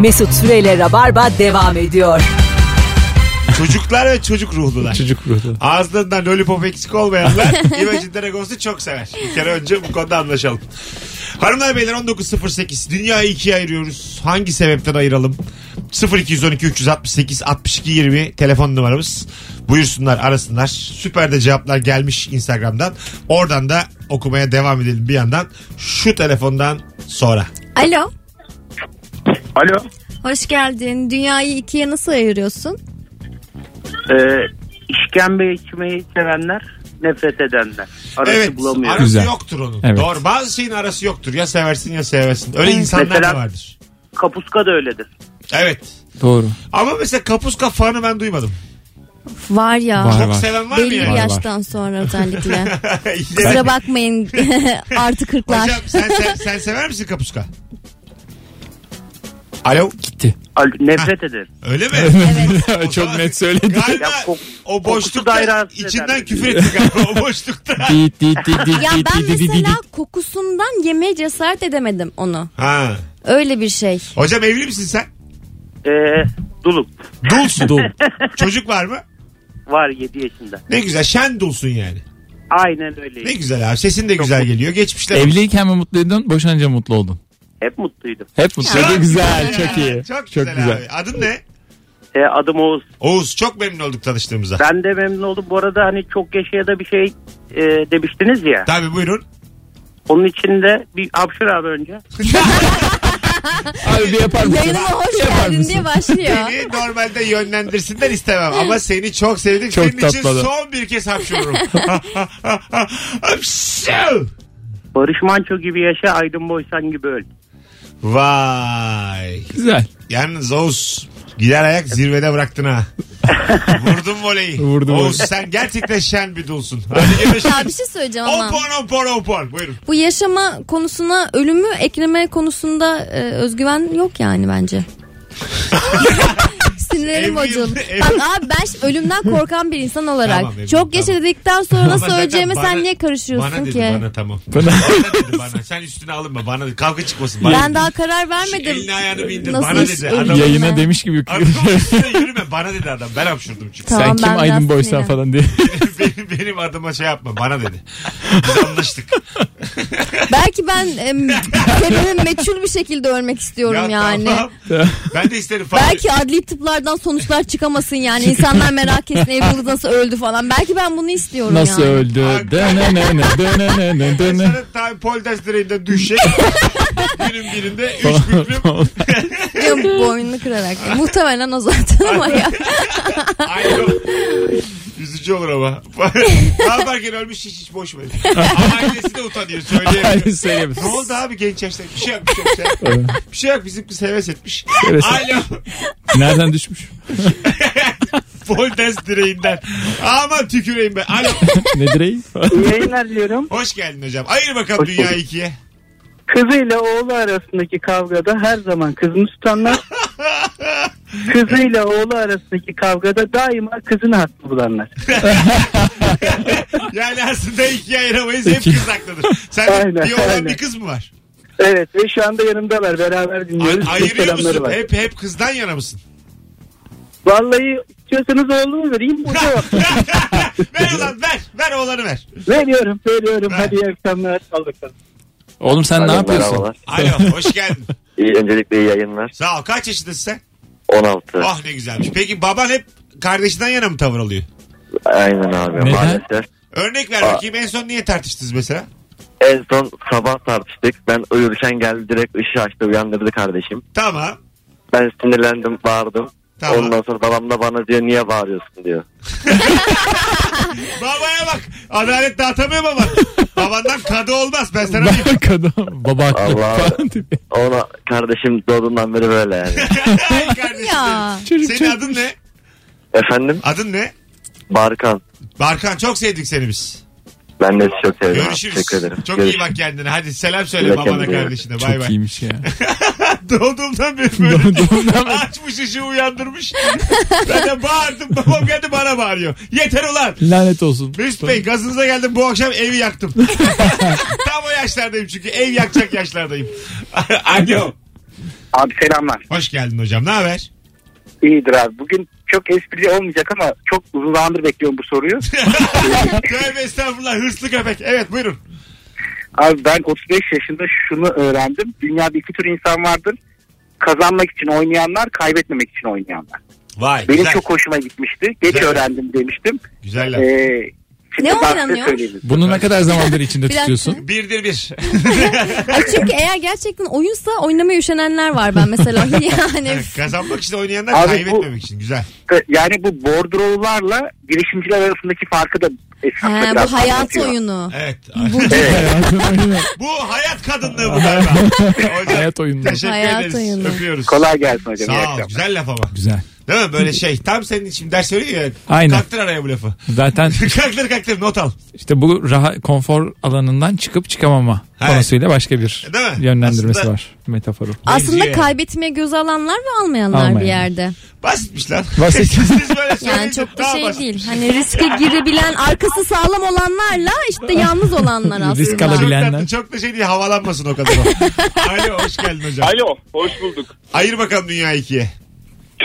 Mesut Süreyle Rabarba devam ediyor. Çocuklar ve çocuk ruhlular. Çocuk ruhlu. Ağızlarından lollipop eksik olmayanlar Imagine Dragons'u çok sever. Bir kere önce bu konuda anlaşalım. Hanımlar beyler 19.08 dünyayı ikiye ayırıyoruz. Hangi sebepten ayıralım? 0212 368 62 20 telefon numaramız. Buyursunlar arasınlar. Süper de cevaplar gelmiş Instagram'dan. Oradan da okumaya devam edelim bir yandan. Şu telefondan sonra. Alo. Alo. Hoş geldin. Dünyayı ikiye nasıl ayırıyorsun? Ee, işkembe içmeyi sevenler, nefret edenler. Arası evet bulamıyorum. arası Güzel. yoktur onun. Evet. Doğru bazı şeyin arası yoktur. Ya seversin ya sevmesin. Öyle insanlar Mesela- da vardır. Kapuska da öyledir. Evet. Doğru. Ama mesela kapuska fanı ben duymadım. Var ya. Var. Çok seven var mı Belli bir yani? Var, yaştan sonra özellikle. Yine- Kusura bakmayın artı kırklar. Hocam sen, sen, sen sever misin kapuska? Alo Gitti. Al- Nefret eder. öyle mi? O zaman- Çok net söyledi. Galiba Ya kok- o kokusu boşlukta da içinden rahatsız küfür etti galiba o boşlukta. Dit, dit, dit, dit, Ya dit, ben dit, dit, dit, mesela dit. kokusundan yemeye cesaret edemedim onu. ha. Öyle bir şey. Hocam evli misin sen? Ee, duluk. Dulsun. Dul. Çocuk var mı? Var 7 yaşında. Ne güzel şen dulsun yani. Aynen öyle. Ne güzel abi sesin de güzel geliyor. Geçmişler. Evliyken mi mutluydun? Boşanınca mutlu oldun. Hep mutluydum. Hep mutlu. Çok Çok güzel. ya. Çok iyi. Çok güzel, abi. Adın ne? Ee, adım Oğuz. Oğuz çok memnun olduk tanıştığımıza. Ben de memnun oldum. Bu arada hani çok yaşaya da bir şey e, demiştiniz ya. Tabii buyurun. Onun için de bir hapşır abi önce. Abi bir yapar mısın? Yayınıma hoş Yapar geldin mısın? diye başlıyor. Beni normalde yönlendirsinler istemem ama seni çok sevdik. Çok Senin için tatlı adam. son bir kez hapşururum. Hapşu! Barış Manço gibi yaşa, Aydın Boysan gibi öl. Vay. Güzel. Yalnız Oğuz gider ayak zirvede bıraktın ha. Vurdun voleyi. Vurdum Oğuz sen gerçekten şen bir dulsun. Hadi görüşürüz. Ya bir şey söyleyeceğim On ama. puan on puan on puan. Buyurun. Bu yaşama konusuna ölümü ekleme konusunda e, özgüven yok yani bence. Sinirlerim Evliyim, bozuldu. evliyim. Bak abi ben şimdi ölümden korkan bir insan olarak Tamam, evliyim, çok geç tamam. dedikten sonra Ama nasıl zaten öleceğime bana- sen niye karışıyorsun Bana dedi ki? bana tamam. bana dedi bana. Sen üstüne alınma. Bana dedi. Kavga çıkmasın. Bana Ben dedi. daha karar Şu vermedim. Elini ayağını bindir. Nasıl Bana iş dedi. örgüsü? Adam, Yayın- Yayına demiş gibi. adamın üstüne yürüme. Bana dedi adam. Ben hapşurdum çünkü. Tamam, Sen kim ben Aydın biraz Boysan sinirlendim. falan diye. benim, benim adıma şey yapma. Bana dedi. Biz anlaştık. Belki ben em, sebebim meçhul bir şekilde ölmek istiyorum yani. tamam. Ben de isterim. Falan. Belki adli tıplardan sonuçlar çıkamasın yani insanlar merak etsin Ebru nasıl öldü falan. Belki ben bunu istiyorum Nasıl yani. öldü? Dönenene, dönenene, dönene. Sana tam poldas direğinden düşecek. Günün birinde üç büklüm Ya boynunu kırarak. Muhtemelen o zaten ama ya. ayrı. Üzücü olur ama. Kalkarken ölmüş hiç hiç boş ver. Ama Ailesi de utanıyor söyleyemiyor. Hayır, söyleyemez. Ne oldu abi genç yaşta? Bir şey yok bir şey yok. bir şey yok. Bir şey yok bizimki seves etmiş. Seves Alo. Nereden düşmüş? Poldas direğinden. Aman tüküreyim ben. Alo. ne direği? İyi yayınlar diliyorum. Hoş geldin hocam. Ayır bakalım Hoş dünya bulduk. ikiye. Kızıyla oğlu arasındaki kavgada her zaman kızını tutanlar. kızıyla oğlu arasındaki kavgada daima kızını haklı bulanlar. Yani aslında ikiye ayıramayız. Hep kız haklıdır. Sen Aynen, bir oğlan aynen. bir kız mı var? Evet ve şu anda yanımdalar. Beraber dinliyoruz. Ay- Çok ayırıyor selamları musun? var. Hep hep kızdan yana mısın? Vallahi istiyorsanız oğlumu vereyim. Bu cevap. ver ulan ver. Ver oğlanı ver. veriyorum veriyorum. Ha. Hadi iyi akşamlar. Al bakalım. Oğlum sen ne Alo, yapıyorsun? merhabalar. Alo hoş geldin. İyi, öncelikle iyi yayınlar. Sağ ol. Kaç yaşındasın sen? 16. Ah ne güzelmiş. Peki baban hep kardeşinden yana mı tavır alıyor? Aynen abi Neden? maalesef. Örnek ver Aa. bakayım en son niye tartıştınız mesela? En son sabah tartıştık. Ben uyurken geldi direkt ışığı açtı uyandırdı kardeşim. Tamam. Ben sinirlendim bağırdım. Tamam. Ondan sonra babam da bana diyor niye bağırıyorsun diyor. Babaya bak. Adalet dağıtamıyor baban. Babandan kadı olmaz. Ben sana diyeyim. Bak adam baba haklı Allah. falan diye. Ona kardeşim doğduğundan beri böyle yani. Ay kardeşim Ya. benim. Çocuk Senin çok- adın ne? Efendim Adın ne? Barkan. Barkan çok sevdik seni biz. Ben de sizi çok seviyorum. Görüşürüz. Teşekkür ederim. Çok iyi Görüşürüz. bak kendine. Hadi selam söyle Güle babana kendine. kardeşine. Bay Çok bay. iyiymiş ya. Doğduğumdan beri böyle. Açmış ışığı uyandırmış. ben de bağırdım. Babam geldi bana bağırıyor. Yeter ulan. Lanet olsun. Mesut Bey gazınıza geldim bu akşam evi yaktım. Tam o yaşlardayım çünkü ev yakacak yaşlardayım. Alo. Abi selamlar. Hoş geldin hocam. Ne haber? İyidir abi. Bugün çok esprili olmayacak ama çok uzun zamandır bekliyorum bu soruyu. Tövbe estağfurullah hırslı köpek. Evet buyurun. Abi ben 35 yaşında şunu öğrendim. Dünyada iki tür insan vardır. Kazanmak için oynayanlar, kaybetmemek için oynayanlar. Vay Benim güzel. çok hoşuma gitmişti. Geç Güzel. öğrendim demiştim. Güzel laf. Ee, şimdi şey Ne ben size oynanıyor? söyleyeyim. Bunu ne kadar zamandır içinde Bir dakika. tutuyorsun? Birdir bir. Ay çünkü eğer gerçekten oyunsa oynamaya üşenenler var ben mesela. yani Kazanmak için oynayanlar Abi bu- kaybetmemek için. Güzel. Ee, Yani bu bordrolarla girişimciler arasındaki farkı da esasında ha, biraz bu hayat anlatıyor. oyunu. Evet. Evet. bu hayat kadınlığı bu galiba. Hocam, Hayat oyunu. Teşekkür Hayat ederiz. oyunu. Öpüyoruz. Kolay gelsin hocam. iyi Sağ ol. akşamlar. Güzel laf ama. Güzel. Değil mi? Böyle şey. Tam senin için ders veriyor ya. Aynen. Kaktır araya bu lafı. Zaten kaktır kaktır not al. işte bu rahat konfor alanından çıkıp çıkamama Evet. E, konusuyla başka bir Değil mi? yönlendirmesi Aslında- var metaforu. Aslında Benziyor. kaybetmeye göz alanlar ve almayanlar Almayan. bir yerde. Basitmiş lan. Basit. Siz böyle Yani söyleyince çok da daha şey basit. değil. Hani riske girebilen, arkası sağlam olanlarla işte yalnız olanlar aslında. Risk Çok, alabilen- tatlı, Bilenler. çok da şey değil havalanmasın o kadar. Alo hoş geldin hocam. Alo, hoş bulduk. Ayır bakalım dünya ikiye.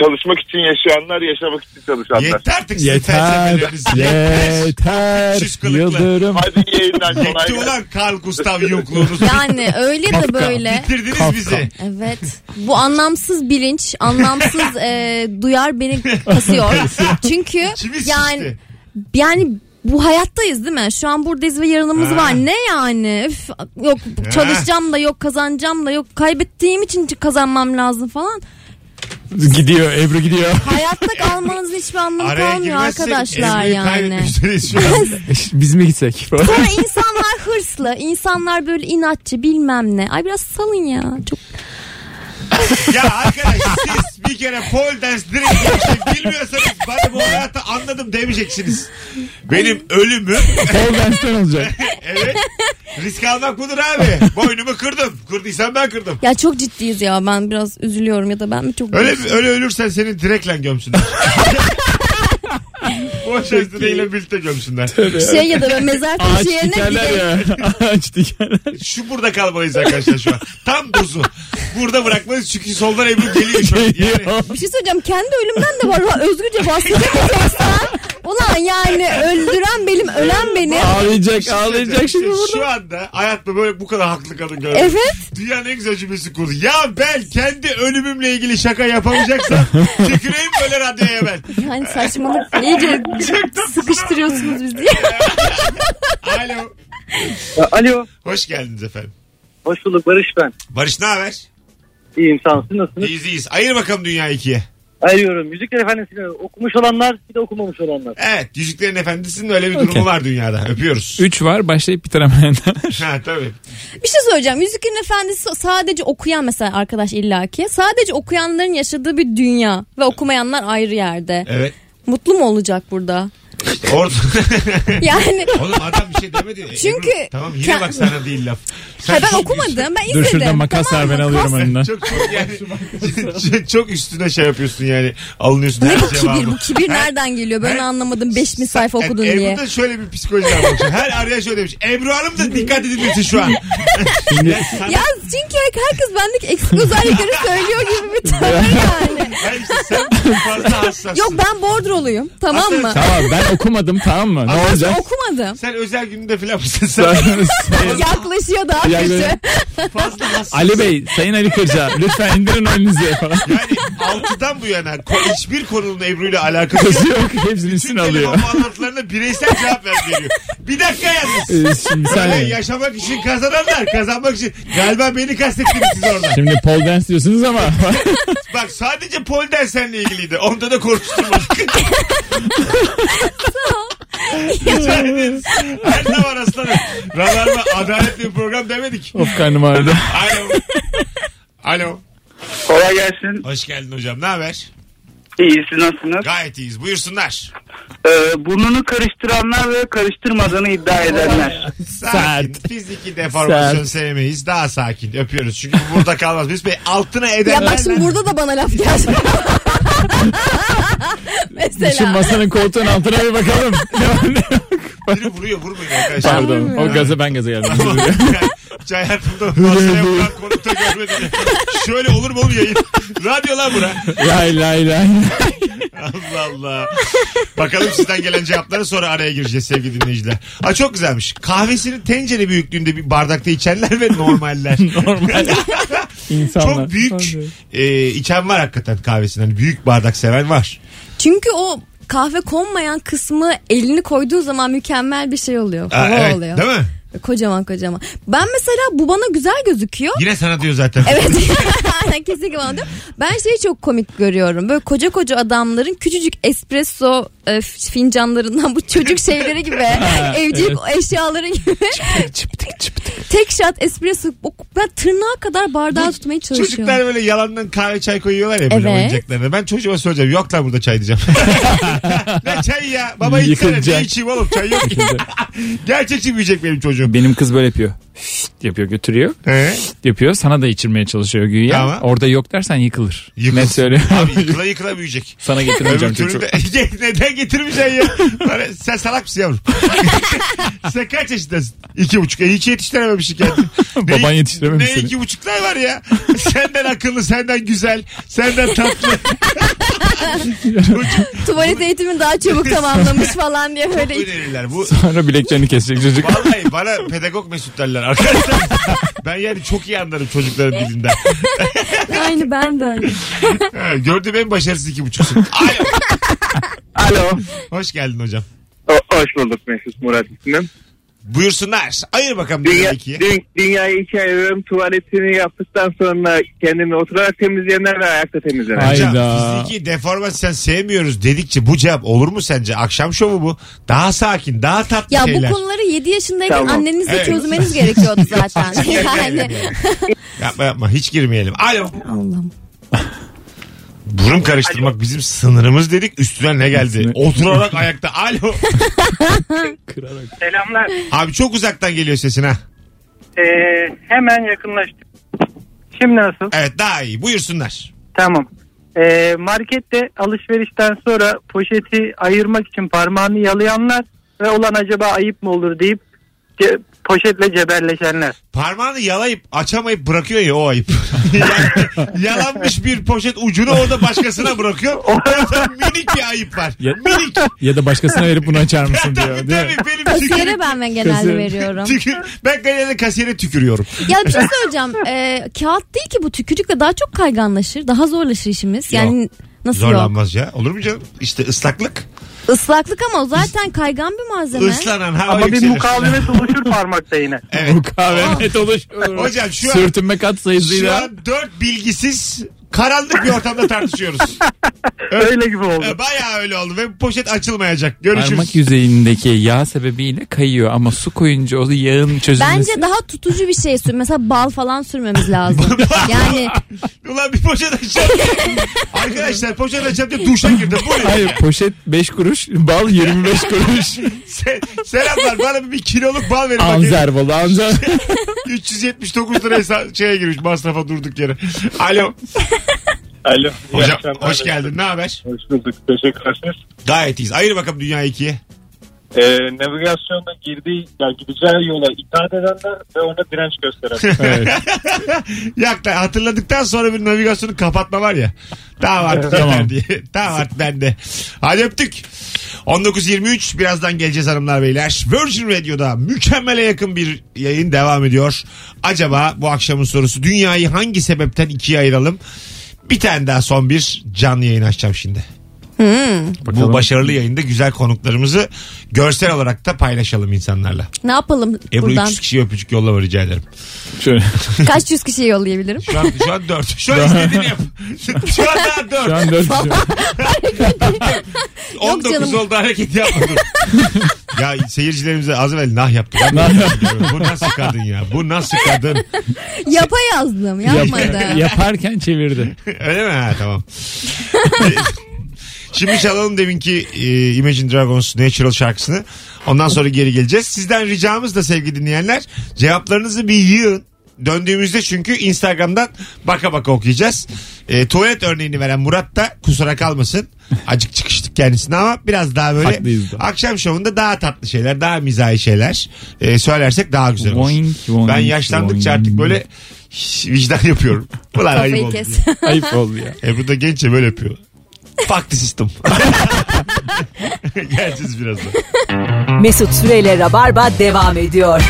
Çalışmak için yaşayanlar, yaşamak için çalışanlar. Yeter artık sizin Yeter. felsefeleriniz. Yeter. Üç Yeter. kılıklı. Yıldırım. Hadi iyi yayınlar. kolay Yetti gelsin. ulan Carl Gustav yokluğunuz. Yani öyle de Kafka. böyle. Bitirdiniz Kafka. bizi. Evet. Bu anlamsız bilinç, anlamsız e, duyar beni kasıyor. Çünkü Kimi yani şişti? yani bu hayattayız değil mi? Şu an buradayız ve yarınımız Ha. var. Ne yani? Üf, yok çalışacağım da yok, kazanacağım da yok. Kaybettiğim için kazanmam lazım falan. Gidiyor. Ebru gidiyor. Hayatta kalmanızın hiçbir anlamı Araya kalmıyor girmezsek arkadaşlar Ebru'yu yani. kaybetmek üzereyiz şu an. Biz mi gitsek? Sonra insanlar hırslı, insanlar böyle inatçı bilmem ne. Ay biraz salın ya. Çok ya arkadaş siz bir kere pole dance direkt bir şey bilmiyorsanız bana bu hayatı anladım demeyeceksiniz. Benim ölümüm Pole dance'den olacak. evet risk almak budur abi. Boynumu kırdım. Kırdıysam ben kırdım. ya çok ciddiyiz ya. Ben biraz üzülüyorum ya da ben mi çok Öyle öyle ölürsen seni direkle gömsünler. Boş ile birlikte gömsünler. şey ya da böyle mezar Ağaç taşı yerine bir dikerler de ya. Ağaç dikerler. Şu burada kalmalıyız arkadaşlar şu an. Tam dozu. Burada bırakmalıyız çünkü soldan Ebru geliyor şu an. Yani bir şey söyleyeceğim. Kendi ölümden de var. Ulan Özgürce bahsedecek olsa. Ulan yani öldüren benim, ölen benim. Ağlayacak ağlayacak şimdi burada. Şu anda hayatımda böyle bu kadar haklı kadın gördüm. Evet. Dünyanın en güzel cümlesi kurdu. Ya ben kendi ölümümle ilgili şaka yapamayacaksam tüküreyim böyle radyoya ben. Yani saçmalık. iyice sıkıştırıyorsunuz bizi. Alo. Alo. Hoş geldiniz efendim. Hoş bulduk Barış ben. Barış ne haber? İyiyim sağ olun. Siz nasılsınız? İyiyiz iyiyiz. Ayır bakalım dünya ikiye. Ayırıyorum. Müzikler Efendisi'ni okumuş olanlar bir de okumamış olanlar. Evet. Yüzüklerin Efendisi'nin öyle bir durumu Okey. var dünyada. Öpüyoruz. Üç var başlayıp bitiremeyenler. ha tabii. Bir şey söyleyeceğim. Yüzüklerin Efendisi sadece okuyan mesela arkadaş illaki. Sadece okuyanların yaşadığı bir dünya ve okumayanlar ayrı yerde. Evet. Mutlu mu olacak burada? Orada. Yani Oğlum adam bir şey demedi. Ebru, Çünkü- tamam yine bak sana değil laf. Sen ha ben çok- okumadım. Ben Dur izledim. şurada makas ver Tamam ben mı? alıyorum önünden. Çok, çok yani çok üstüne şey yapıyorsun yani alınıyorsun Ne her bu cevabı. kibir? Bu kibir nereden geliyor? Ben anlamadım. 5000 sayfa Yani okudun diye. Ebru'da şöyle bir psikoloji var. bak. Her araya şöyle demiş. Ebru Hanım da dikkat edin lütfen şu an. Şimdi Ya çünkü herkes bendeki eksik özellikleri söylüyor gibi bir tavır yani. Hayır işte sen fazla hassassın. Yok ben bordroluyum tamam mı? tamam ben okumadım tamam mı? Ne olacak? Okumadım. Sen özel gününde filan mısın? Sen Sayın- sayın- Yaklaşıyor daha Ya kötü. böyle- fazla hassas. Ali Bey, Sayın Ali Kırca lütfen indirin önünüzü falan. Yani altıdan bu yana ko- hiçbir konunun Ebru ile alakası yok. Kızı yok hepsini üstüne alıyor. Telefon bağlantılarına bireysel cevap ver geliyor. Bir dakika yalnız. Ee, Şimdi Öyle sen yaşamak için kazananlar kazanmak için. Galiba beni kastettiniz siz orada. Şimdi pole dance diyorsunuz ama Bak sadece Polden seninle ilgiliydi. Onda da korkuşturma. Rica ederiz. Her zaman aslanım. Radarla adaletli bir program demedik. of karnım ağrıdı. Alo. Alo. Kolay gelsin. Hoş geldin hocam. Ne haber? İyi siz nasılsınız? Gayet iyiyiz. Buyursunlar. Ee, burnunu karıştıranlar ve karıştırmadığını iddia edenler. Sakin. Sert. Fiziki deformasyon sevmeyiz. Daha sakin. Öpüyoruz. Çünkü bu burada kalmaz. Biz bir altına Ya edenlerle... bak şimdi burada da bana laf geldi. Şu mesela. masanın koltuğun altına bir bakalım. Ne var ne yok. Biri vuruyor vurmayın arkadaşlar. Pardon. O gaza ben gaza geldim. Yani hiç hayatımda masaya vuran konukta görmedim. Şöyle olur mu oğlum yayın? Radyo lan bura. lay lay lay. Allah Allah. Bakalım sizden gelen cevapları sonra araya gireceğiz sevgili dinleyiciler. Aa, çok güzelmiş. Kahvesini tencere büyüklüğünde bir bardakta içenler ve normaller. Normal. İnsanlar. Çok büyük e, içen var hakikaten kahvesini. Hani büyük bardak seven var. Çünkü o kahve konmayan kısmı elini koyduğu zaman mükemmel bir şey oluyor. Aa, Hava evet, oluyor. Değil mi? Kocaman kocaman. Ben mesela bu bana güzel gözüküyor. Yine sana diyor zaten. Evet. Aynen, Kesinlikle bana diyor. Ben şeyi çok komik görüyorum. Böyle koca koca adamların küçücük espresso e, f- fincanlarından bu çocuk şeyleri gibi. evcilik eşyaları gibi. Çıptık çıptık. Tek şat espresso. O- Ben tırnağa kadar bardağı tutmaya çalışıyorum. Çocuklar böyle yalandan kahve çay koyuyorlar ya böyle Evet. oyuncaklarına. Ben çocuğuma soracağım. Yok lan burada çay diyeceğim. ne çay ya? Baba içsene. Ne Yıkılacak. içeyim oğlum? Çay yok ki. Gerçekçi büyüyecek benim çocuğum. Benim kız böyle yapıyor. Şşt yapıyor götürüyor. He? Yapıyor sana da içirmeye çalışıyor güya. Tamam. Orada yok dersen yıkılır. Yıkılsın. Ne söylüyor? Abi yıkıla yıkıla büyüyecek. Sana Öbür getirmeyeceğim türlü çocuğu. de neden getirmeyeceksin ya? Bana- sen salak mısın yavrum? sen kaç yaşındasın? İki buçuk. E, hiç yetiştirememişsin kendini. Ne- Baban yetiştirememiş Ne seni. iki buçuklar var ya? Senden akıllı, senden güzel, senden tatlı. Çocuk Tuvalet eğitimini daha çabuk tamamlamış falan diye böyle önerirler. Bu Sonra bileklerini kesecek çocuk. Vallahi bana pedagog mesut derler arkadaşlar. ben yani çok iyi anlarım çocukların dilinden. aynı ben de öyle. Ha, Gördüğüm en başarısız iki buçuksun. Alo. Alo. Hoş geldin hocam. O- hoş bulduk Mesut Murat ismim. Buyursunlar. Ayır bakalım Dünya, dünya ikiye. dün- dünyayı ikiye ayırıyorum. Tuvaletini yaptıktan sonra kendimi oturarak temizleyenler ve ayakta temizleyenler. Ay. Hocam Hayda. fiziki deformasyon sevmiyoruz dedikçe bu cevap olur mu sence? Akşam şovu bu. Daha sakin, daha tatlı Ya şeyler. bu konuları 7 yaşındayken Tamam. annenizle Evet. çözmeniz gerekiyordu zaten. yani. yapma yapma hiç girmeyelim. Alo. Allah'ım. Burun karıştırmak bizim sınırımız dedik. Üstüne ne geldi? Üstüne. Oturarak ayakta. Alo. Kırarak. Selamlar. Abi çok uzaktan geliyor sesin ha. Ee, hemen yakınlaştık. Şimdi nasıl? Evet daha iyi. Buyursunlar. Tamam. Ee, markette alışverişten sonra poşeti ayırmak için parmağını yalayanlar ve olan acaba ayıp mı olur deyip ce- poşetle cebelleşenler. Parmağını yalayıp açamayıp bırakıyor ya o ayıp. Yani Yalanmış bir poşet ucunu orada başkasına bırakıyor. Orada minik bir ayıp var. Ya- Minik. Ya da başkasına verip bunu açar mısın diyor. Tabii değil mi? tabii benim Kasiyere tükürüğüm. ben genelde Kasiyere. veriyorum. Tükür, ben genelde kasiyere tükürüyorum. Ya bir şey söyleyeceğim. Ee, kağıt değil ki bu tükürükle daha çok kayganlaşır. Daha zorlaşır işimiz. Yani nasıl yok? Zorlanmaz ya. Olur mu canım? İşte ıslaklık. Islaklık ama o zaten kaygan bir malzeme. Islanan hava Ama bir yükselir. mukavemet oluşur parmakta yine. Evet. Mukavemet oluşuyor. Hocam şu an- Sürtünme kat Şu sayısıyla. an dört bilgisiz karanlık bir ortamda tartışıyoruz. Öyle gibi oldu. Ee, Bayağı öyle oldu ve bu poşet açılmayacak. Görüşürüz. Parmak yüzeyindeki yağ sebebiyle kayıyor ama su koyunca o yağın çözülmesi. Bence daha tutucu bir şey sür. Mesela bal falan sürmemiz lazım. yani Ulan bir poşet açacağım. Arkadaşlar poşet açacağım diye duşa girdim. Bu ne? Hayır poşet 5 kuruş, bal 25 kuruş. Se- selamlar bana bir, bir kiloluk bal verin. Bakayım. Anzer balı anzer. 379 lira hesa- şeye girmiş masrafa durduk yere. Alo. Alo. Hocam hoş geldin. Ne haber? Hoş bulduk. Teşekkürler. Gayet iyiyiz. Ayır bakalım dünya ikiye. Ee, navigasyonda girdiği, yani gideceği yola itaat edenler ve ona direnç gösteren. Yakla hatırladıktan sonra bir navigasyonu kapatma var ya. Tamam artık yeter diye. Tamam artık bende. Hadi öptük. 19.23 birazdan geleceğiz hanımlar beyler. Virgin Radio'da mükemmele yakın bir yayın devam ediyor. Acaba bu akşamın sorusu dünyayı hangi sebepten ikiye ayıralım? Bir tane daha son bir canlı yayın açacağım şimdi. Bu başarılı yayında güzel konuklarımızı görsel olarak da paylaşalım insanlarla. ne yapalım Ebru buradan? 300 kişiye öpücük yolla rica ederim. Şöyle. Kaç yüz kişiye yollayabilirim? Şu an, şu an 4. Şu an istediğini yap. Şu an daha 4. Şu an dört kişi var. 19 canım. oldu hareket yapmadım. ya seyircilerimize az evvel nah yaptı. Ben de diyorum, bu nasıl kadın ya? Bu nasıl kadın? Yapa yazdım. Yapmadı. Yap- yaparken çevirdi. Öyle mi? Ha, tamam. Şimdi çalalım deminki e, Imagine Dragons Natural şarkısını. Ondan sonra geri geleceğiz. Sizden ricamız da sevgili dinleyenler cevaplarınızı bir yığın. Döndüğümüzde çünkü Instagram'dan baka baka okuyacağız. E, tuvalet örneğini veren Murat da kusura kalmasın. Acık çıkıştık kendisine ama biraz daha böyle Haklıyız da. akşam şovunda daha tatlı şeyler, daha mizahi şeyler e, söylersek daha güzel olur. Boing, boing, ben yaşlandıkça boing. artık böyle hiç vicdan yapıyorum. Ulan ayıp Kafayı oldu. kes. Ayıp oldu ya. Ebru da gençe böyle yapıyor. Fuck the system. Geleceğiz birazdan. Mesut Süreyle Rabarba devam ediyor.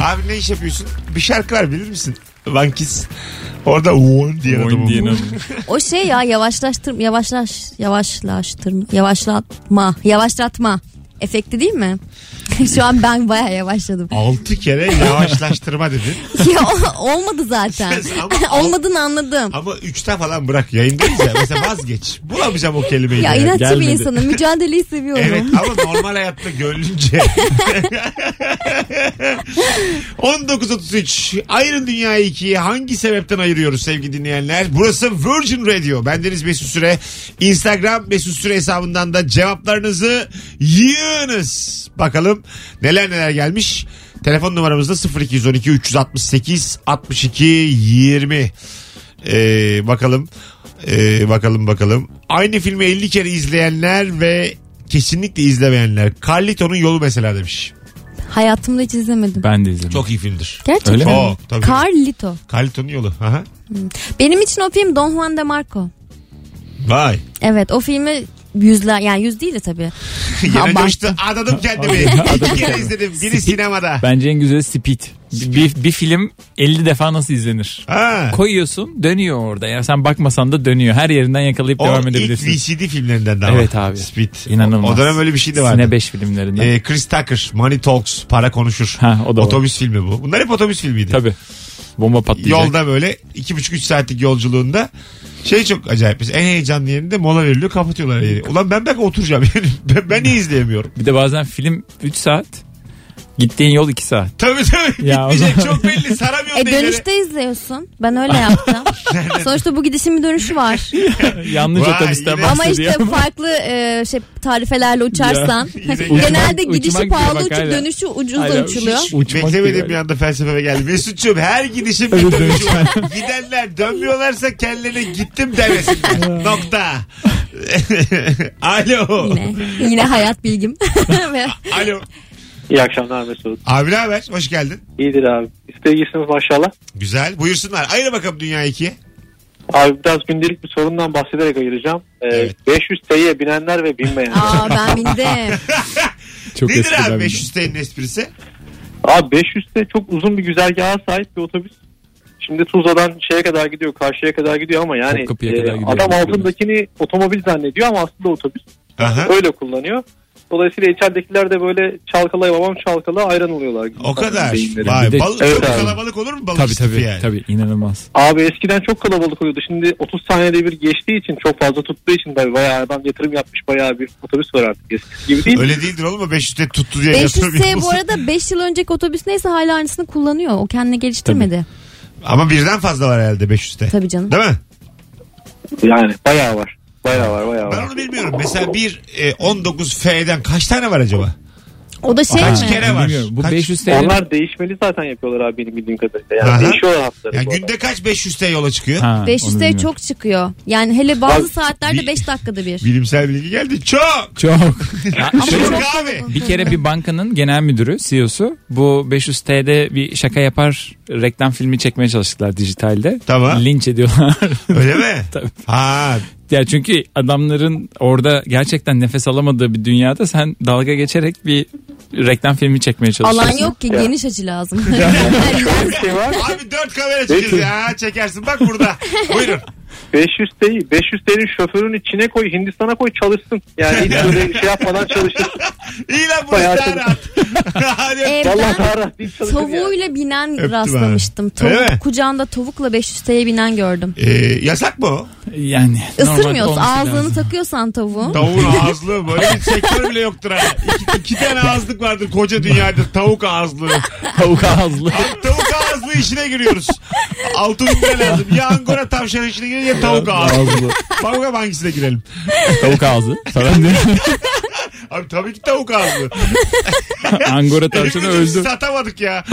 Abi ne iş yapıyorsun? Bir şarkı var bilir misin? Van Kiss. Orada one diye Boing diyen adamım. adam. O şey ya yavaşlaştır yavaşlaş yavaşlaştırma yavaşlatma yavaşlatma efekti değil mi? Şu an ben baya yavaşladım. 6 kere yavaşlaştırma dedin. ya o- olmadı zaten. Ama- Olmadığını anladım. Ama 3'te falan bırak yayındayız ya. Mesela vazgeç. Bulamayacağım o kelimeyi. Ya yani. inatçı bir gelmedi. insanım. Mücadeleyi seviyorum. Evet ama normal hayatta gönlünce. 19.33 Ayrın Dünya'yı ikiye hangi sebepten ayırıyoruz sevgili dinleyenler? Burası Virgin Radio. Bendeniz Mesut Süre. Instagram Mesut Süre hesabından da cevaplarınızı yığınız. Bakalım neler neler gelmiş. Telefon numaramız da 0212 368 62 20. Ee, bakalım. Ee, bakalım bakalım. Aynı filmi 50 kere izleyenler ve kesinlikle izlemeyenler. Carlito'nun yolu mesela demiş. Hayatımda hiç izlemedim. Ben de izledim. Çok iyi filmdir. Gerçekten. Öyle mi? mi? Çok, tabii. Carlito. Carlito'nun yolu. Aha. Benim için o film Don Juan de Marco. Vay. Evet o filmi yüzler yani yüz değil de tabii. Yine Abarttım. coştu. Adadım kendimi. İki kere izledim. Biri sinemada. Bence en güzeli Speed. Bir, bir film 50 defa nasıl izlenir? Ha. Koyuyorsun dönüyor orada. Yani sen bakmasan da dönüyor. Her yerinden yakalayıp O devam ilk edebilirsin. VCD filmlerinden daha. Evet abi. Speed. İnanılmaz. O dönem öyle bir şey de vardı. Sine 5 filmlerinden. Ee, Chris Tucker, Money Talks, Para Konuşur. Ha, o da var. otobüs filmi bu. Bunlar hep otobüs filmiydi. Tabii. Bomba patlayacak. Yolda böyle iki buçuk üç saatlik yolculuğunda şey çok acayip. Mesela En heyecanlı yerinde mola veriliyor kapatıyorlar yeri. Ulan ben belki oturacağım yani. Ben, ben niye izleyemiyorum? Bir de bazen film 3 saat. Gittiğin yol 2 saat. Tabii tabii. Ya o Gitmeyecek zaman- çok belli. Saramıyorum E da ileri. dönüşte izliyorsun. Ben öyle yaptım. Sonuçta bu gidişin bir dönüşü var. Yanlış Vay, otobüsten yine- Ama bahsediyor. işte farklı e, şey tarifelerle uçarsan Yine gel. genelde Uçmak- gidişi uçmak diyor, pahalı bak uçup hala. dönüşü ucuzda Hala uçuluyor. uç- uçmak Beklemedim diyor. bir anda felsefeme geldi. Mesut'cum her gidişim bir Öyle dönüşüm. Gidenler dönmüyorlarsa kendilerine gittim demesinler. Nokta. Alo. Yine, yine hayat bilgim. Ve Alo. İyi akşamlar Mesut. Abi ne haber? Hoş geldin. İyidir abi. İsteği iyisiniz maşallah. Güzel. Buyursunlar. Ayır bakalım dünya ikiye. Abi biraz gündelik bir sorundan bahsederek ayıracağım. Ee, Evet. 500 TL'ye binenler ve binmeyenler. Aa ben bindim. Çok Nedir eskiden abi bir- 500 TL'nin esprisi? abi 500 TL çok uzun bir güzergaha sahip bir otobüs. Şimdi Tuzla'dan şeye kadar gidiyor, karşıya kadar gidiyor ama yani Topkapı'ya e, kadar gidiyor. adam altındakini otomobil zannediyor ama aslında otobüs. Aha. Öyle kullanıyor. Dolayısıyla içeridekiler de böyle çalkalay babam çalkala ayran oluyorlar. O kadar. Beyinleri. Vay, Bir de- balık Evet çok abi. kalabalık olur mu balık Tabii istifi tabii. yani? Tabii inanılmaz. Abi eskiden çok kalabalık oluyordu. Şimdi 30 saniyede bir geçtiği için çok fazla tuttuğu için tabii bayağı adam yatırım yapmış bayağı bir otobüs var artık eskisi gibi değil. Öyle değildir oğlum o 500 TL tuttu diye 500 yatırım T bu yapılsın. arada 5 yıl önceki otobüs neyse hala aynısını kullanıyor. O kendini geliştirmedi. Ama birden fazla var herhalde 500 TL. Tabii canım. Değil mi? Yani bayağı var. Bayağı var bayağı Ben var. onu bilmiyorum. Mesela bir e, 19F'den kaç tane var acaba? O da şey Kaç mi? kere var? Bilmiyorum. Bu Kaç- 500 TL. Onlar değişmeli zaten yapıyorlar abi benim bildiğim kadarıyla. Yani Aha. değişiyorlar haftaları. Ya bu arada. günde kaç 500 TL yola çıkıyor? Ha, 500 onu TL bilmiyorum. çok çıkıyor. Yani hele bazı Bak, saatlerde bir- 5 dakikada bir. Bilimsel bilgi geldi. Çok. Çok. Şey- Ya Ama şöyle- çok abi. kalabalık. Bir kere bir bankanın genel müdürü, CEO'su bu 500 TL bir şaka yapar reklam filmi çekmeye çalıştılar dijitalde. Tamam. Linç ediyorlar. Öyle mi? Tabii. Ha, ya çünkü adamların orada gerçekten nefes alamadığı bir dünyada sen dalga geçerek bir reklam filmi çekmeye Alan çalışıyorsun. yok ki geniş açı lazım. Yani Bir şey var. abi dört kamera çekeceğiz ya. Ha, Çekersin bak burada. Buyurun. 500 değil. 500 TL'nin şoförünü içine koy, Hindistan'a koy çalışsın. Yani hiç böyle şey yapmadan çalışırsın. İyi lan burası Bayağı daha çabuk. rahat. Hadi öptük. evden Vallahi daha rahat değil çalışırsın. yani. tavuğuyla binen Öptüm rastlamıştım. abi. Tavuk, Öyle mi? kucağında tavukla 500 TL'ye binen gördüm. Ee, yasak mı o? Yani. normalde Isırmıyorsun. olması Ağzını lazım. takıyorsan tavuğun. Tavuğun ağızlığı böyle bir sektör bile yoktur ha. İki, iki tane ağızlık vardır koca dünyada tavuk ağızlığı. Tavuk ağızlı. Abi tavuk ağızlığı işine giriyoruz. Altı bin lira lazım. Ya Angora tavşan işine girelim ya tavuk ağızlığı. ağızlı. Bakalım hangisine girelim. Tavuk ağzı. Falan diyor. Abi tabii ki tavuk ağzı. Angora tavşanı Birbirimizi öldü. satamadık ya.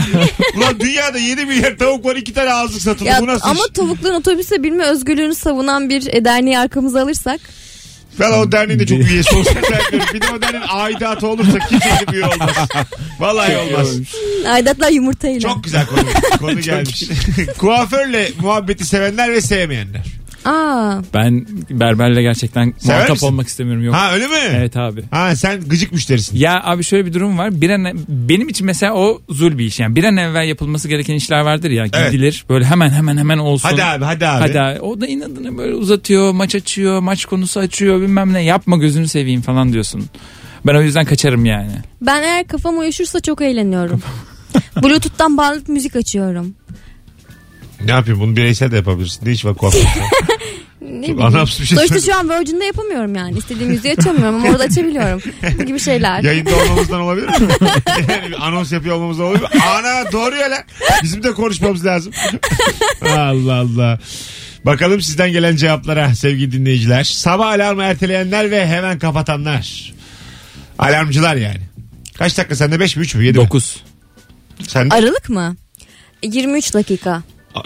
Ulan dünyada 7 milyar tavuk var 2 tane ağızlık satıldı. Ya, Bu nasıl ama iş? tavukların otobüse binme özgürlüğünü savunan bir e, derneği arkamıza alırsak. Ben o derneğin de çok üyesi olsak zannediyorum. Bir de o derneğin aidatı olursa kimse de üye olmaz. Vallahi olmaz. Aydatlar yumurtayla. Çok güzel konu, konu gelmiş. Kuaförle muhabbeti sevenler ve sevmeyenler. Aa, Ben berberle gerçekten Sever muhatap misin? olmak istemiyorum. Yok. Ha öyle mi? Evet abi. Ha sen gıcık müşterisin. Ya abi şöyle bir durum var. Bir an e, benim için mesela o zul bir iş. Yani bir an evvel yapılması gereken işler vardır ya. Evet. Gidilir. Böyle hemen hemen hemen olsun. Hadi abi hadi abi. Hadi abi. O da inadına böyle uzatıyor, maç açıyor, maç konusu açıyor, bilmem ne. Yapma gözünü seveyim falan diyorsun. Ben o yüzden kaçarım yani. ben eğer kafam uyuşursa çok eğleniyorum. Bluetooth'tan bağlanıp müzik açıyorum. Ne yapayım bunu bireysel de yapabilirsin. Ne iş var kuaför? Ne Çok bileyim. anlamsız bir şey Sonuçta söyledim. şu an Virgin'de yapamıyorum yani. İstediğim müziği açamıyorum ama orada açabiliyorum. Bu gibi şeyler. Yayında olmamızdan olabilir mi? yani bir anons yapıyor olmamızdan olabilir mi? Ana doğru ya lan. Bizim de konuşmamız lazım. Allah Allah. Bakalım sizden gelen cevaplara sevgili dinleyiciler. Sabah alarmı erteleyenler ve hemen kapatanlar. Alarmcılar yani. Kaç dakika sende 5 mi 3 mü 7 mi? 9. Sende Aralık mı? 23 dakika.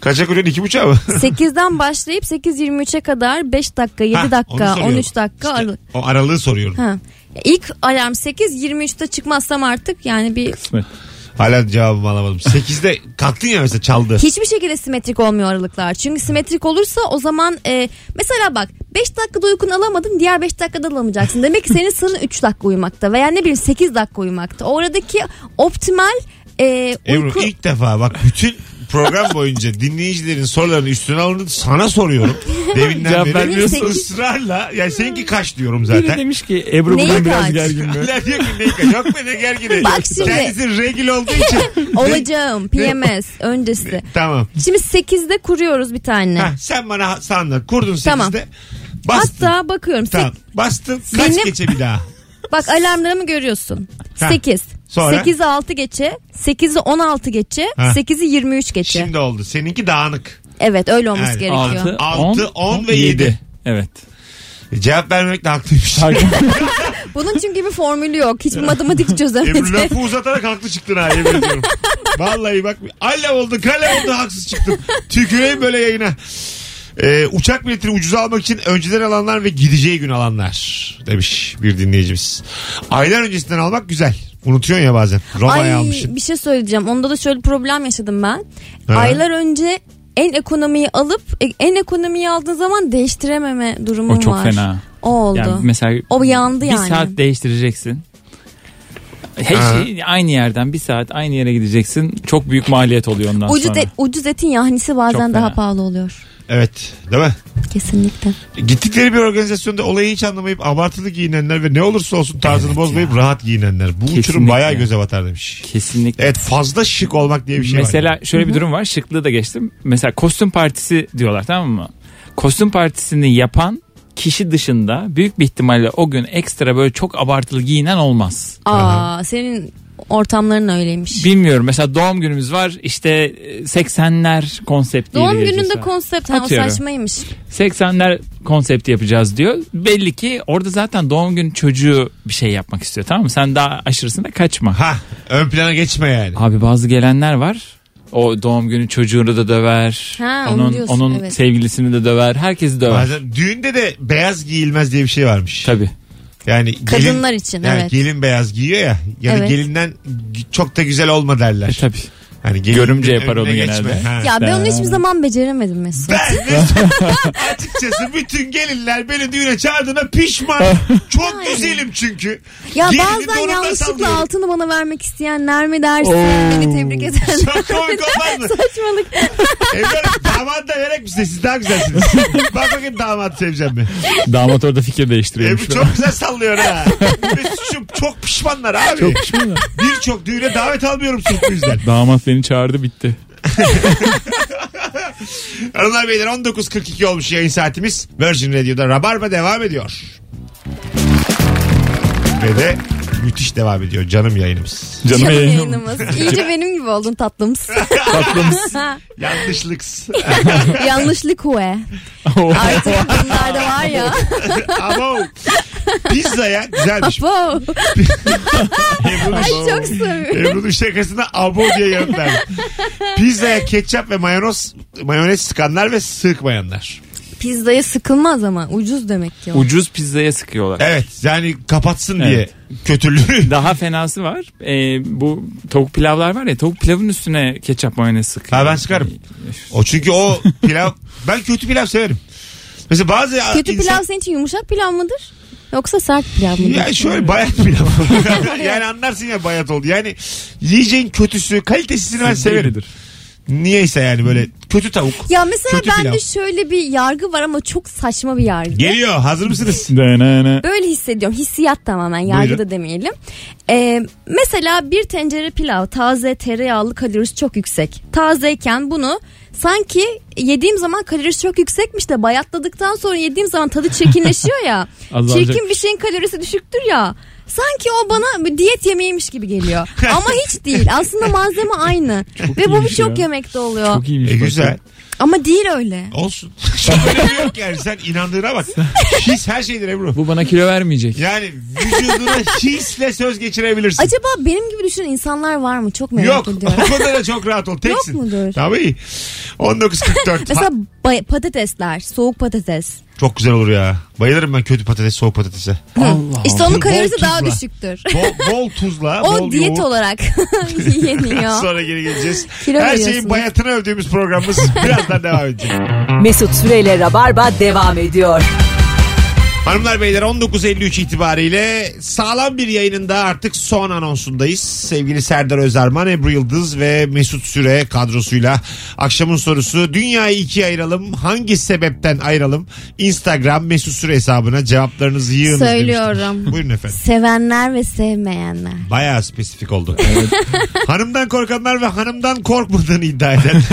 kaça kuruyorsun 2.5 mı? 8'den başlayıp 8.23'e kadar 5 dakika, 7 Ha, onu dakika, soruyorum. 13 İşte dakika aralık. O aralığı soruyorum. Ha. İlk alarm 8, 23'te çıkmazsam artık yani bir Hala cevabımı alamadım. 8'de kalktın ya mesela çaldı. hiçbir şekilde simetrik olmuyor aralıklar. Çünkü simetrik olursa o zaman e, mesela bak 5 dakikada uykunu alamadın diğer 5 dakikada alamayacaksın. Demek ki senin sırrın 3 dakika uyumakta veya ne bileyim 8 dakika uyumakta. Oradaki optimal e, Ebru uyku... ilk defa bak bütün program boyunca dinleyicilerin sorularını üstüne alındı sana soruyorum. Devinden Cevap beri vermiyorsun. ısrarla yani seninki kaç diyorum Biri zaten. demiş ki Ebru Neyi bugün biraz kaç? gergin. be. Hala diyor ki ne gergin yok mu ne gergin. Bak şimdi. Kendisi regil olduğu için. Olacağım PMS öncesi. tamam. Şimdi 8'de kuruyoruz bir tane. Heh, sen bana ha- sen anlat. Kurdun 8'de. Tamam. Bastın. Hatta bakıyorum. Sek- Tamam. Bastın. Kaç Benim- geçe bir daha? Bak alarmlarımı görüyorsun. Ha. 8. Sonra? 8'i 6 geçe, 8'i 16 geçe, Ha. 8'i 23 geçe. Şimdi oldu. Seninki dağınık. Evet öyle olması Yani gerekiyor. 6, Altı, 10, on 10 ve ve yedi. 7. Evet. E, Cevap vermemek de haklıymış. Bunun çünkü bir formülü yok. Hiçbir matematik Ebru çözemedi. lafı uzatarak haklı çıktın ha yemin ediyorum. Vallahi bak allem oldu kalem oldu haksız çıktım. Tüküreyim böyle yayına. Ee, uçak biletini ucuza almak için önceden alanlar ve gideceği gün alanlar demiş bir dinleyicimiz. Aylar öncesinden almak güzel. Unutuyorsun ya bazen. Roma'ya Ay almışsın. bir şey söyleyeceğim. Onda da şöyle problem yaşadım ben. Ha. Aylar önce en ekonomiyi alıp e, en ekonomiyi aldığın zaman değiştirememe durumum O çok var. fena. O oldu. Yani mesela O yandı bir yani. saat değiştireceksin. Ha. Her şey aynı yerden bir saat aynı yere gideceksin. Çok büyük maliyet oluyor ondan ucuz, sonra. et, ucuz etin yahnisi bazen Çok daha fena. pahalı oluyor. Evet değil mi? Kesinlikle. Gittikleri bir organizasyonda olayı hiç anlamayıp abartılı giyinenler ve ne olursa olsun tarzını bozmayıp rahat giyinenler. Bu uçurum Kesinlikle. bayağı göze batar demiş. Kesinlikle. Evet fazla şık olmak diye bir şey var. Mesela şöyle bir durum var. Şıklığı da geçtim. Mesela kostüm partisi diyorlar tamam mı? Kostüm partisini yapan kişi dışında büyük bir ihtimalle o gün ekstra böyle çok abartılı giyinen olmaz. Aa senin ortamların öyleymiş. Bilmiyorum mesela doğum günümüz var işte e, 80'ler konsepti. Doğum ile gününde geziyorsun. konsept ha, o Atıyorum. saçmaymış. 80'ler konsepti yapacağız diyor. Belli ki orada zaten doğum gün çocuğu bir şey yapmak istiyor tamam mı? Sen daha aşırısına kaçma. Ha ön plana geçme yani. Abi bazı gelenler var. O doğum günü çocuğunu da döver. Ha, onu onun diyorsun, onun evet. sevgilisini de döver. Herkesi döver. Bazen düğünde de beyaz giyilmez diye bir şey varmış. Tabii. Yani gelin, Kadınlar için, yani evet. Gelin beyaz giyiyor ya. Yani Evet. gelinden çok da güzel olma derler. E, tabii. Hani gelin Görümce önüne yapar onu geçme. genelde. Ha. Ya ben onu Ben- hiçbir zaman beceremedim Mesut. Ben Mesut, açıkçası bütün gelinler beni düğüne çağırdığına pişman. Çok güzelim çünkü. Ya Gelini bazen doğrudan yanlışlıkla sallıyorum. altını bana vermek isteyenler mi dersin? Beni tebrik edenler. Çok komik olmaz mı? Saçmalık. Evladım damat da vererek mi size? Siz daha güzelsiniz. Bak bakayım damat seveceğim mi? Damat orada fikir değiştiriyormuş. Ebru E, çok güzel sallıyor ha. Mesut'cum çok pişmanlar abi. Birçok düğüne davet almıyorum sırf bu yüzden. Damat beni çağırdı bitti. Hanımlar beyler 19.42 olmuş yayın saatimiz. Virgin Radio'da Rabarba devam ediyor. Ve de Müthiş devam ediyor canım yayınımız. Canım Canım yayınım. yayınımız. İyice benim gibi oldun tatlımız. Tatlımız. Yanlışlık. Yanlışlık hue. Artık bunlarda var ya. Abo. Pizzaya güzelmiş. Wow. Ebru'nun, Ay çok seviyorum. Ebru'nun şakasına abo diye yanıt verdim. Pizzaya ketçap ve mayonez, mayonez sıkanlar ve sıkmayanlar. Pizzaya sıkılmaz ama ucuz demek ki. o. Ucuz pizzaya sıkıyorlar. Evet yani kapatsın diye Evet. kötülüğü. Daha fenası var. Ee, bu tavuk pilavlar var ya tavuk pilavın üstüne ketçap mayonez sıkıyor. E, Ha, ben sıkarım. O çünkü o pilav ben kötü pilav severim. Mesela bazı Kötü insan- pilav senin için yumuşak pilav mıdır? Yoksa sert pilav mıdır? Ya şöyle bayat pilav. yani anlarsın ya bayat oldu. Yani yiyeceğin kötüsü, kalitesini ben severim. Sevgilidir. Niyeyse yani böyle kötü tavuk. Ya mesela Kötü bende pilav. şöyle bir yargı var ama çok saçma bir yargı. Geliyor hazır mısınız? Dönene. Böyle hissediyorum. Hissiyat tamamen. Yargı Buyurun. da demeyelim. Ee, mesela bir tencere pilav taze tereyağlı kalorisi çok yüksek. Tazeyken bunu sanki yediğim zaman kalorisi çok yüksekmiş de bayatladıktan sonra yediğim zaman tadı çirkinleşiyor ya. Azalacak. Çirkin bir şeyin kalorisi düşüktür ya. Sanki o bana bir diyet yemeğiymiş gibi geliyor. Ama hiç değil. Aslında malzeme aynı. Ve bu iyiymiş birçok ya. yemekte oluyor. Çok iyiymiş. E, bak. güzel. Ama değil öyle. Olsun. Şöyle şey yok yani sen inandığına bak. His her şeydir Ebru. Bu bana kilo vermeyecek. Yani vücuduna hisle söz geçirebilirsin. Acaba benim gibi düşünen insanlar var mı? Çok merak Yok ediyorum. o konuda da çok rahat ol. Teksin. mudur? Tabii. 19.44. Mesela Ha, bay- patatesler, soğuk patates. çok güzel olur ya. Bayılırım ben kötü patates, soğuk patatese. Allah işte Bol onun kalorisi daha tuzla. düşüktür. Bol, bol tuzla, O bol diyet yoğurt. olarak yeniyor. Sonra geri geleceğiz. Kilo Her şeyin veriyorsunuz. bayatını övdüğümüz programımız birazdan devam edecek. Mesut Süreyle Rabarba devam ediyor. Hanımlar beyler 19.53 itibariyle sağlam bir yayınında artık son anonsundayız. Sevgili Serdar Özerman, Ebru Yıldız ve Mesut Süre kadrosuyla akşamın sorusu dünyayı ikiye ayıralım. Hangi sebepten ayıralım? Instagram Mesut Süre hesabına cevaplarınızı yığınız Söylüyorum. demiştim. Buyurun efendim. Sevenler ve sevmeyenler. Bayağı spesifik oldu. hanımdan korkanlar ve hanımdan korkmadığını iddia edenler.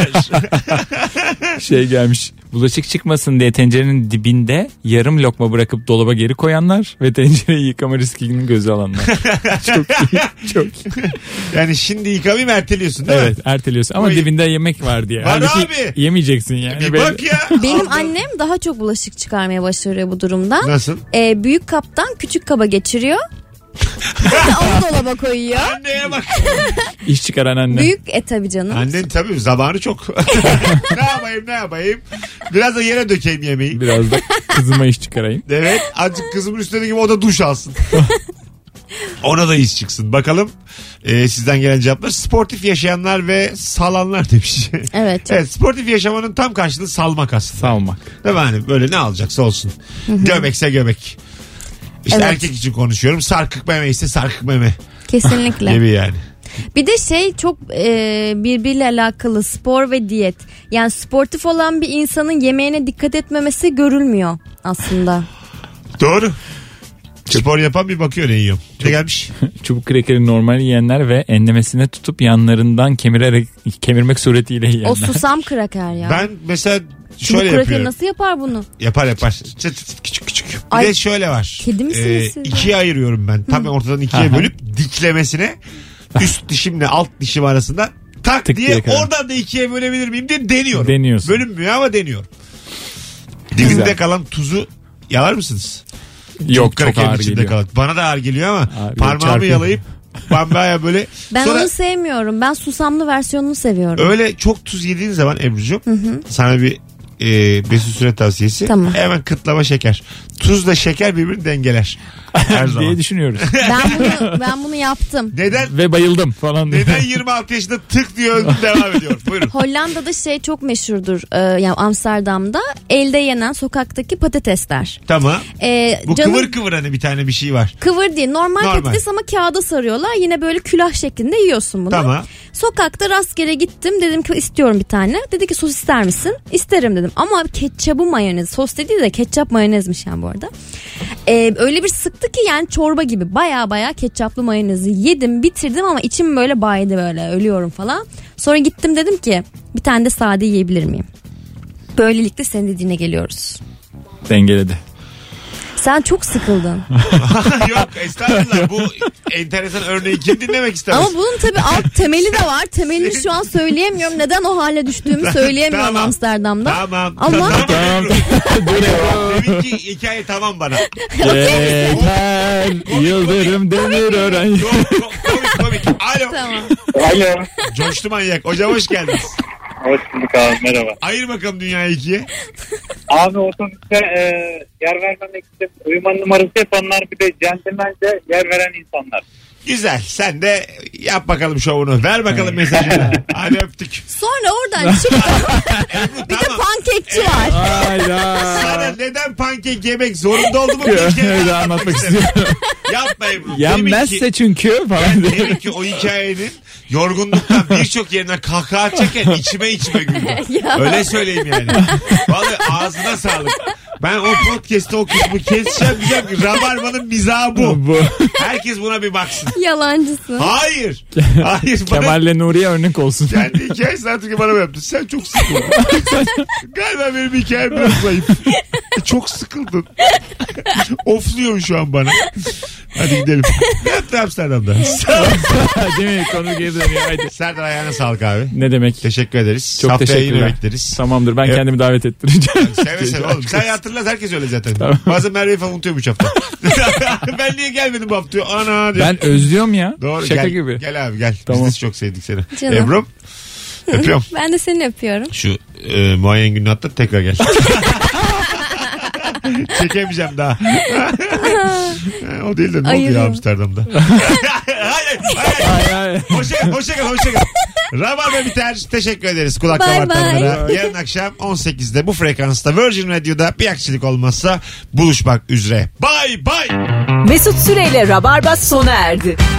şey gelmiş. Bulaşık çıkmasın diye tencerenin dibinde yarım lokma bırakıp dolaba geri koyanlar ve tencereyi yıkama riskini göze alanlar. çok iyi, çok iyi. yani şimdi yıkamayayım erteliyorsun değil mi? Evet erteliyorsun ama Oy. dibinde yemek var diye. Var Halbuki abi. E, Yemeyeceksin yani. Bir Böyle- bak ya. Benim annem daha çok bulaşık çıkarmaya başarıyor bu durumda. Nasıl? Ee, büyük kaptan küçük kaba geçiriyor. Onu dolaba koyuyor. Anneye bak. İş çıkaran anne. Büyük e tabi canım. Annen tabii zamanı çok. ne yapayım ne yapayım. Biraz da yere dökeyim yemeği. Biraz da kızıma iş çıkarayım. Evet azıcık kızımın üstüne gibi o da duş alsın. Ona da iz çıksın. Bakalım e, sizden gelen cevaplar. Sportif yaşayanlar ve salanlar demiş. Evet. çok- evet sportif yaşamanın tam karşılığı salmak aslında. Salmak. Değil mi? Hani böyle ne alacaksa olsun. Göbekse göbek. İşte Evet. erkek için konuşuyorum. Sarkık meme ise sarkık meme Kesinlikle. gibi yani. Bir de şey çok e, birbiriyle alakalı spor ve diyet. Yani sportif olan bir insanın yemeğine dikkat etmemesi görülmüyor aslında. Doğru. Spor yapan bir bakıyor ne yiyorum. Ne gelmiş? Çubuk krekeri normal yiyenler ve enlemesine tutup yanlarından kemirerek kemirmek suretiyle yiyenler. O susam kraker ya. Ben mesela Şimdi şöyle kraker yapıyorum. nasıl yapar bunu? Yapar yapar. Çıt çıt çıt, küçük küçük. Bir Ay, de şöyle var. Ee, kedi misiniz siz? ikiye ayırıyorum ben. Tam ortadan ikiye bölüp diklemesine üst dişimle alt dişim arasında tak Tık diye, diye kadar. oradan da ikiye bölebilir miyim diye deniyorum. Deniyorsun. Bölünmüyor ama deniyorum. Dibinde Güzel. kalan tuzu yalar mısınız? Yok çok Krakerin ağır içinde geliyor. kalan. Bana da ağır geliyor ama Ağır, parmağımı çarpıyor. yalayıp bambaya böyle. Ben Sonra- onu sevmiyorum. Ben susamlı versiyonunu seviyorum. Öyle çok tuz yediğin zaman Ebru'cum sana bir e, Mesut Süre tavsiyesi. Tamam. Hemen kıtlama şeker. Tuzla şeker birbirini dengeler. Her diye zaman. düşünüyoruz. Ben bunu ben bunu yaptım. Neden ve bayıldım falan. diye. neden 26 yaşında tık diye öldüm devam ediyor. Buyurun. Hollanda'da şey çok meşhurdur. e, yani Amsterdam'da elde yenen sokaktaki patatesler. Tamam. E, Bu canım- kıvır kıvır hani bir tane bir şey var. Kıvır değil. Normal, Normal. patates ama kağıda sarıyorlar. Yine böyle külah şeklinde yiyorsun bunu. Tamam. Sokakta rastgele gittim. Dedim ki istiyorum bir tane. Dedi ki sos ister misin? İsterim dedim. Ama ketçabı mayonez. Sos dediği de ketçap mayonezmiş yani bu arada. Ee, öyle bir sıktı ki yani çorba gibi. Baya baya ketçaplı mayonezi yedim bitirdim ama içim böyle baydı böyle. Ölüyorum falan. Sonra gittim dedim ki bir tane de sade yiyebilir miyim? Böylelikle senin dediğine geliyoruz. Dengeledi. Sen çok sıkıldın. Yok estağfurullah bu enteresan örneği kim dinlemek istemez? Ama bunun tabii alt temeli de var. Temelini şu an söyleyemiyorum. Neden o hale düştüğümü söyleyemiyorum Tamam. Amsterdam'da. Tamam. Ama- Tamam. Deminki hikaye tamam bana. Yeter. Yıldırım demir öğren. Çok çok komik komik. Alo. Tamam. Alo. Coştu manyak. Hocam hoş geldiniz. Hoş bulduk abi merhaba. Ayır bakalım dünyayı ikiye. Abi otobüste e, yer vermemek için uyuman numarası yapanlar bir de centilmence yer veren insanlar. Güzel. Sen de yap bakalım şovunu. Ver bakalım mesajını. Hadi öptük. Sonra oradan çıktı. Bir de Tamam. pankekçi var. Sana Hayda. neden pankek yemek zorunda olduğumu bir kere Öyle daha anlatmak istiyorum. Yapmayın bunu. Yenmezse çünkü falan diye. Demek ki o hikayenin yorgunluktan birçok yerine kahkaha çeken içime içime güldüm. Ya. Öyle söyleyeyim yani. Vallahi ağzına sağlık. Ben o podcast'te o kısmı keseceğim diyeceğim. Rabarbanın şey mizahı bu. Bu. Herkes buna bir baksın. Yalancısın. Hayır. Hayır. bana- Kemal'le Nuriye örnek olsun. Kendi hikayesini artık bana mı yaptın? Sen çok sıkıldın. Galiba benim hikayem biraz zayıf. E, çok sıkıldın. Ofluyor şu an bana. Hadi gidelim. Ne yaptın Amsterdam'da? Değil mi? Konu geri dönüyor. Haydi. Serdar ayağına sağlık abi. Ne demek? Teşekkür ederiz. Çok Haftaya yine teşekkürler. bekleriz. Tamamdır ben Evet. kendimi davet ettireceğim. Seve seve oğlum. Sen hatırlas herkes öyle zaten. Bazen Merve'yi falan unutuyorum 3 hafta. ben niye gelmedim bu hafta? diyor. Ana diyor. Ben özlüyorum ya. Doğru Şaka gel, gibi. Gel abi gel. Tamam. Biz de çok sevdik seni. Canım. Ebru'm. Öpüyorum. Ben de seni öpüyorum. Şu e, muayen gününü atlat tekrar gel. Çekemeyeceğim daha. o değil de ne oldu ya Ayırıyorum. Amsterdam'da? hayır, hayır. Ay, ay. Hoşça, hoşça kal, hoşça kal. Rabarba biter. Teşekkür ederiz kulak Bye kabartanlara. Yarın akşam 18'de bu frekansta Virgin Radio'da bir aksilik olmazsa buluşmak üzere. Bye bye. Mesut Süreyle Rabarba sona erdi.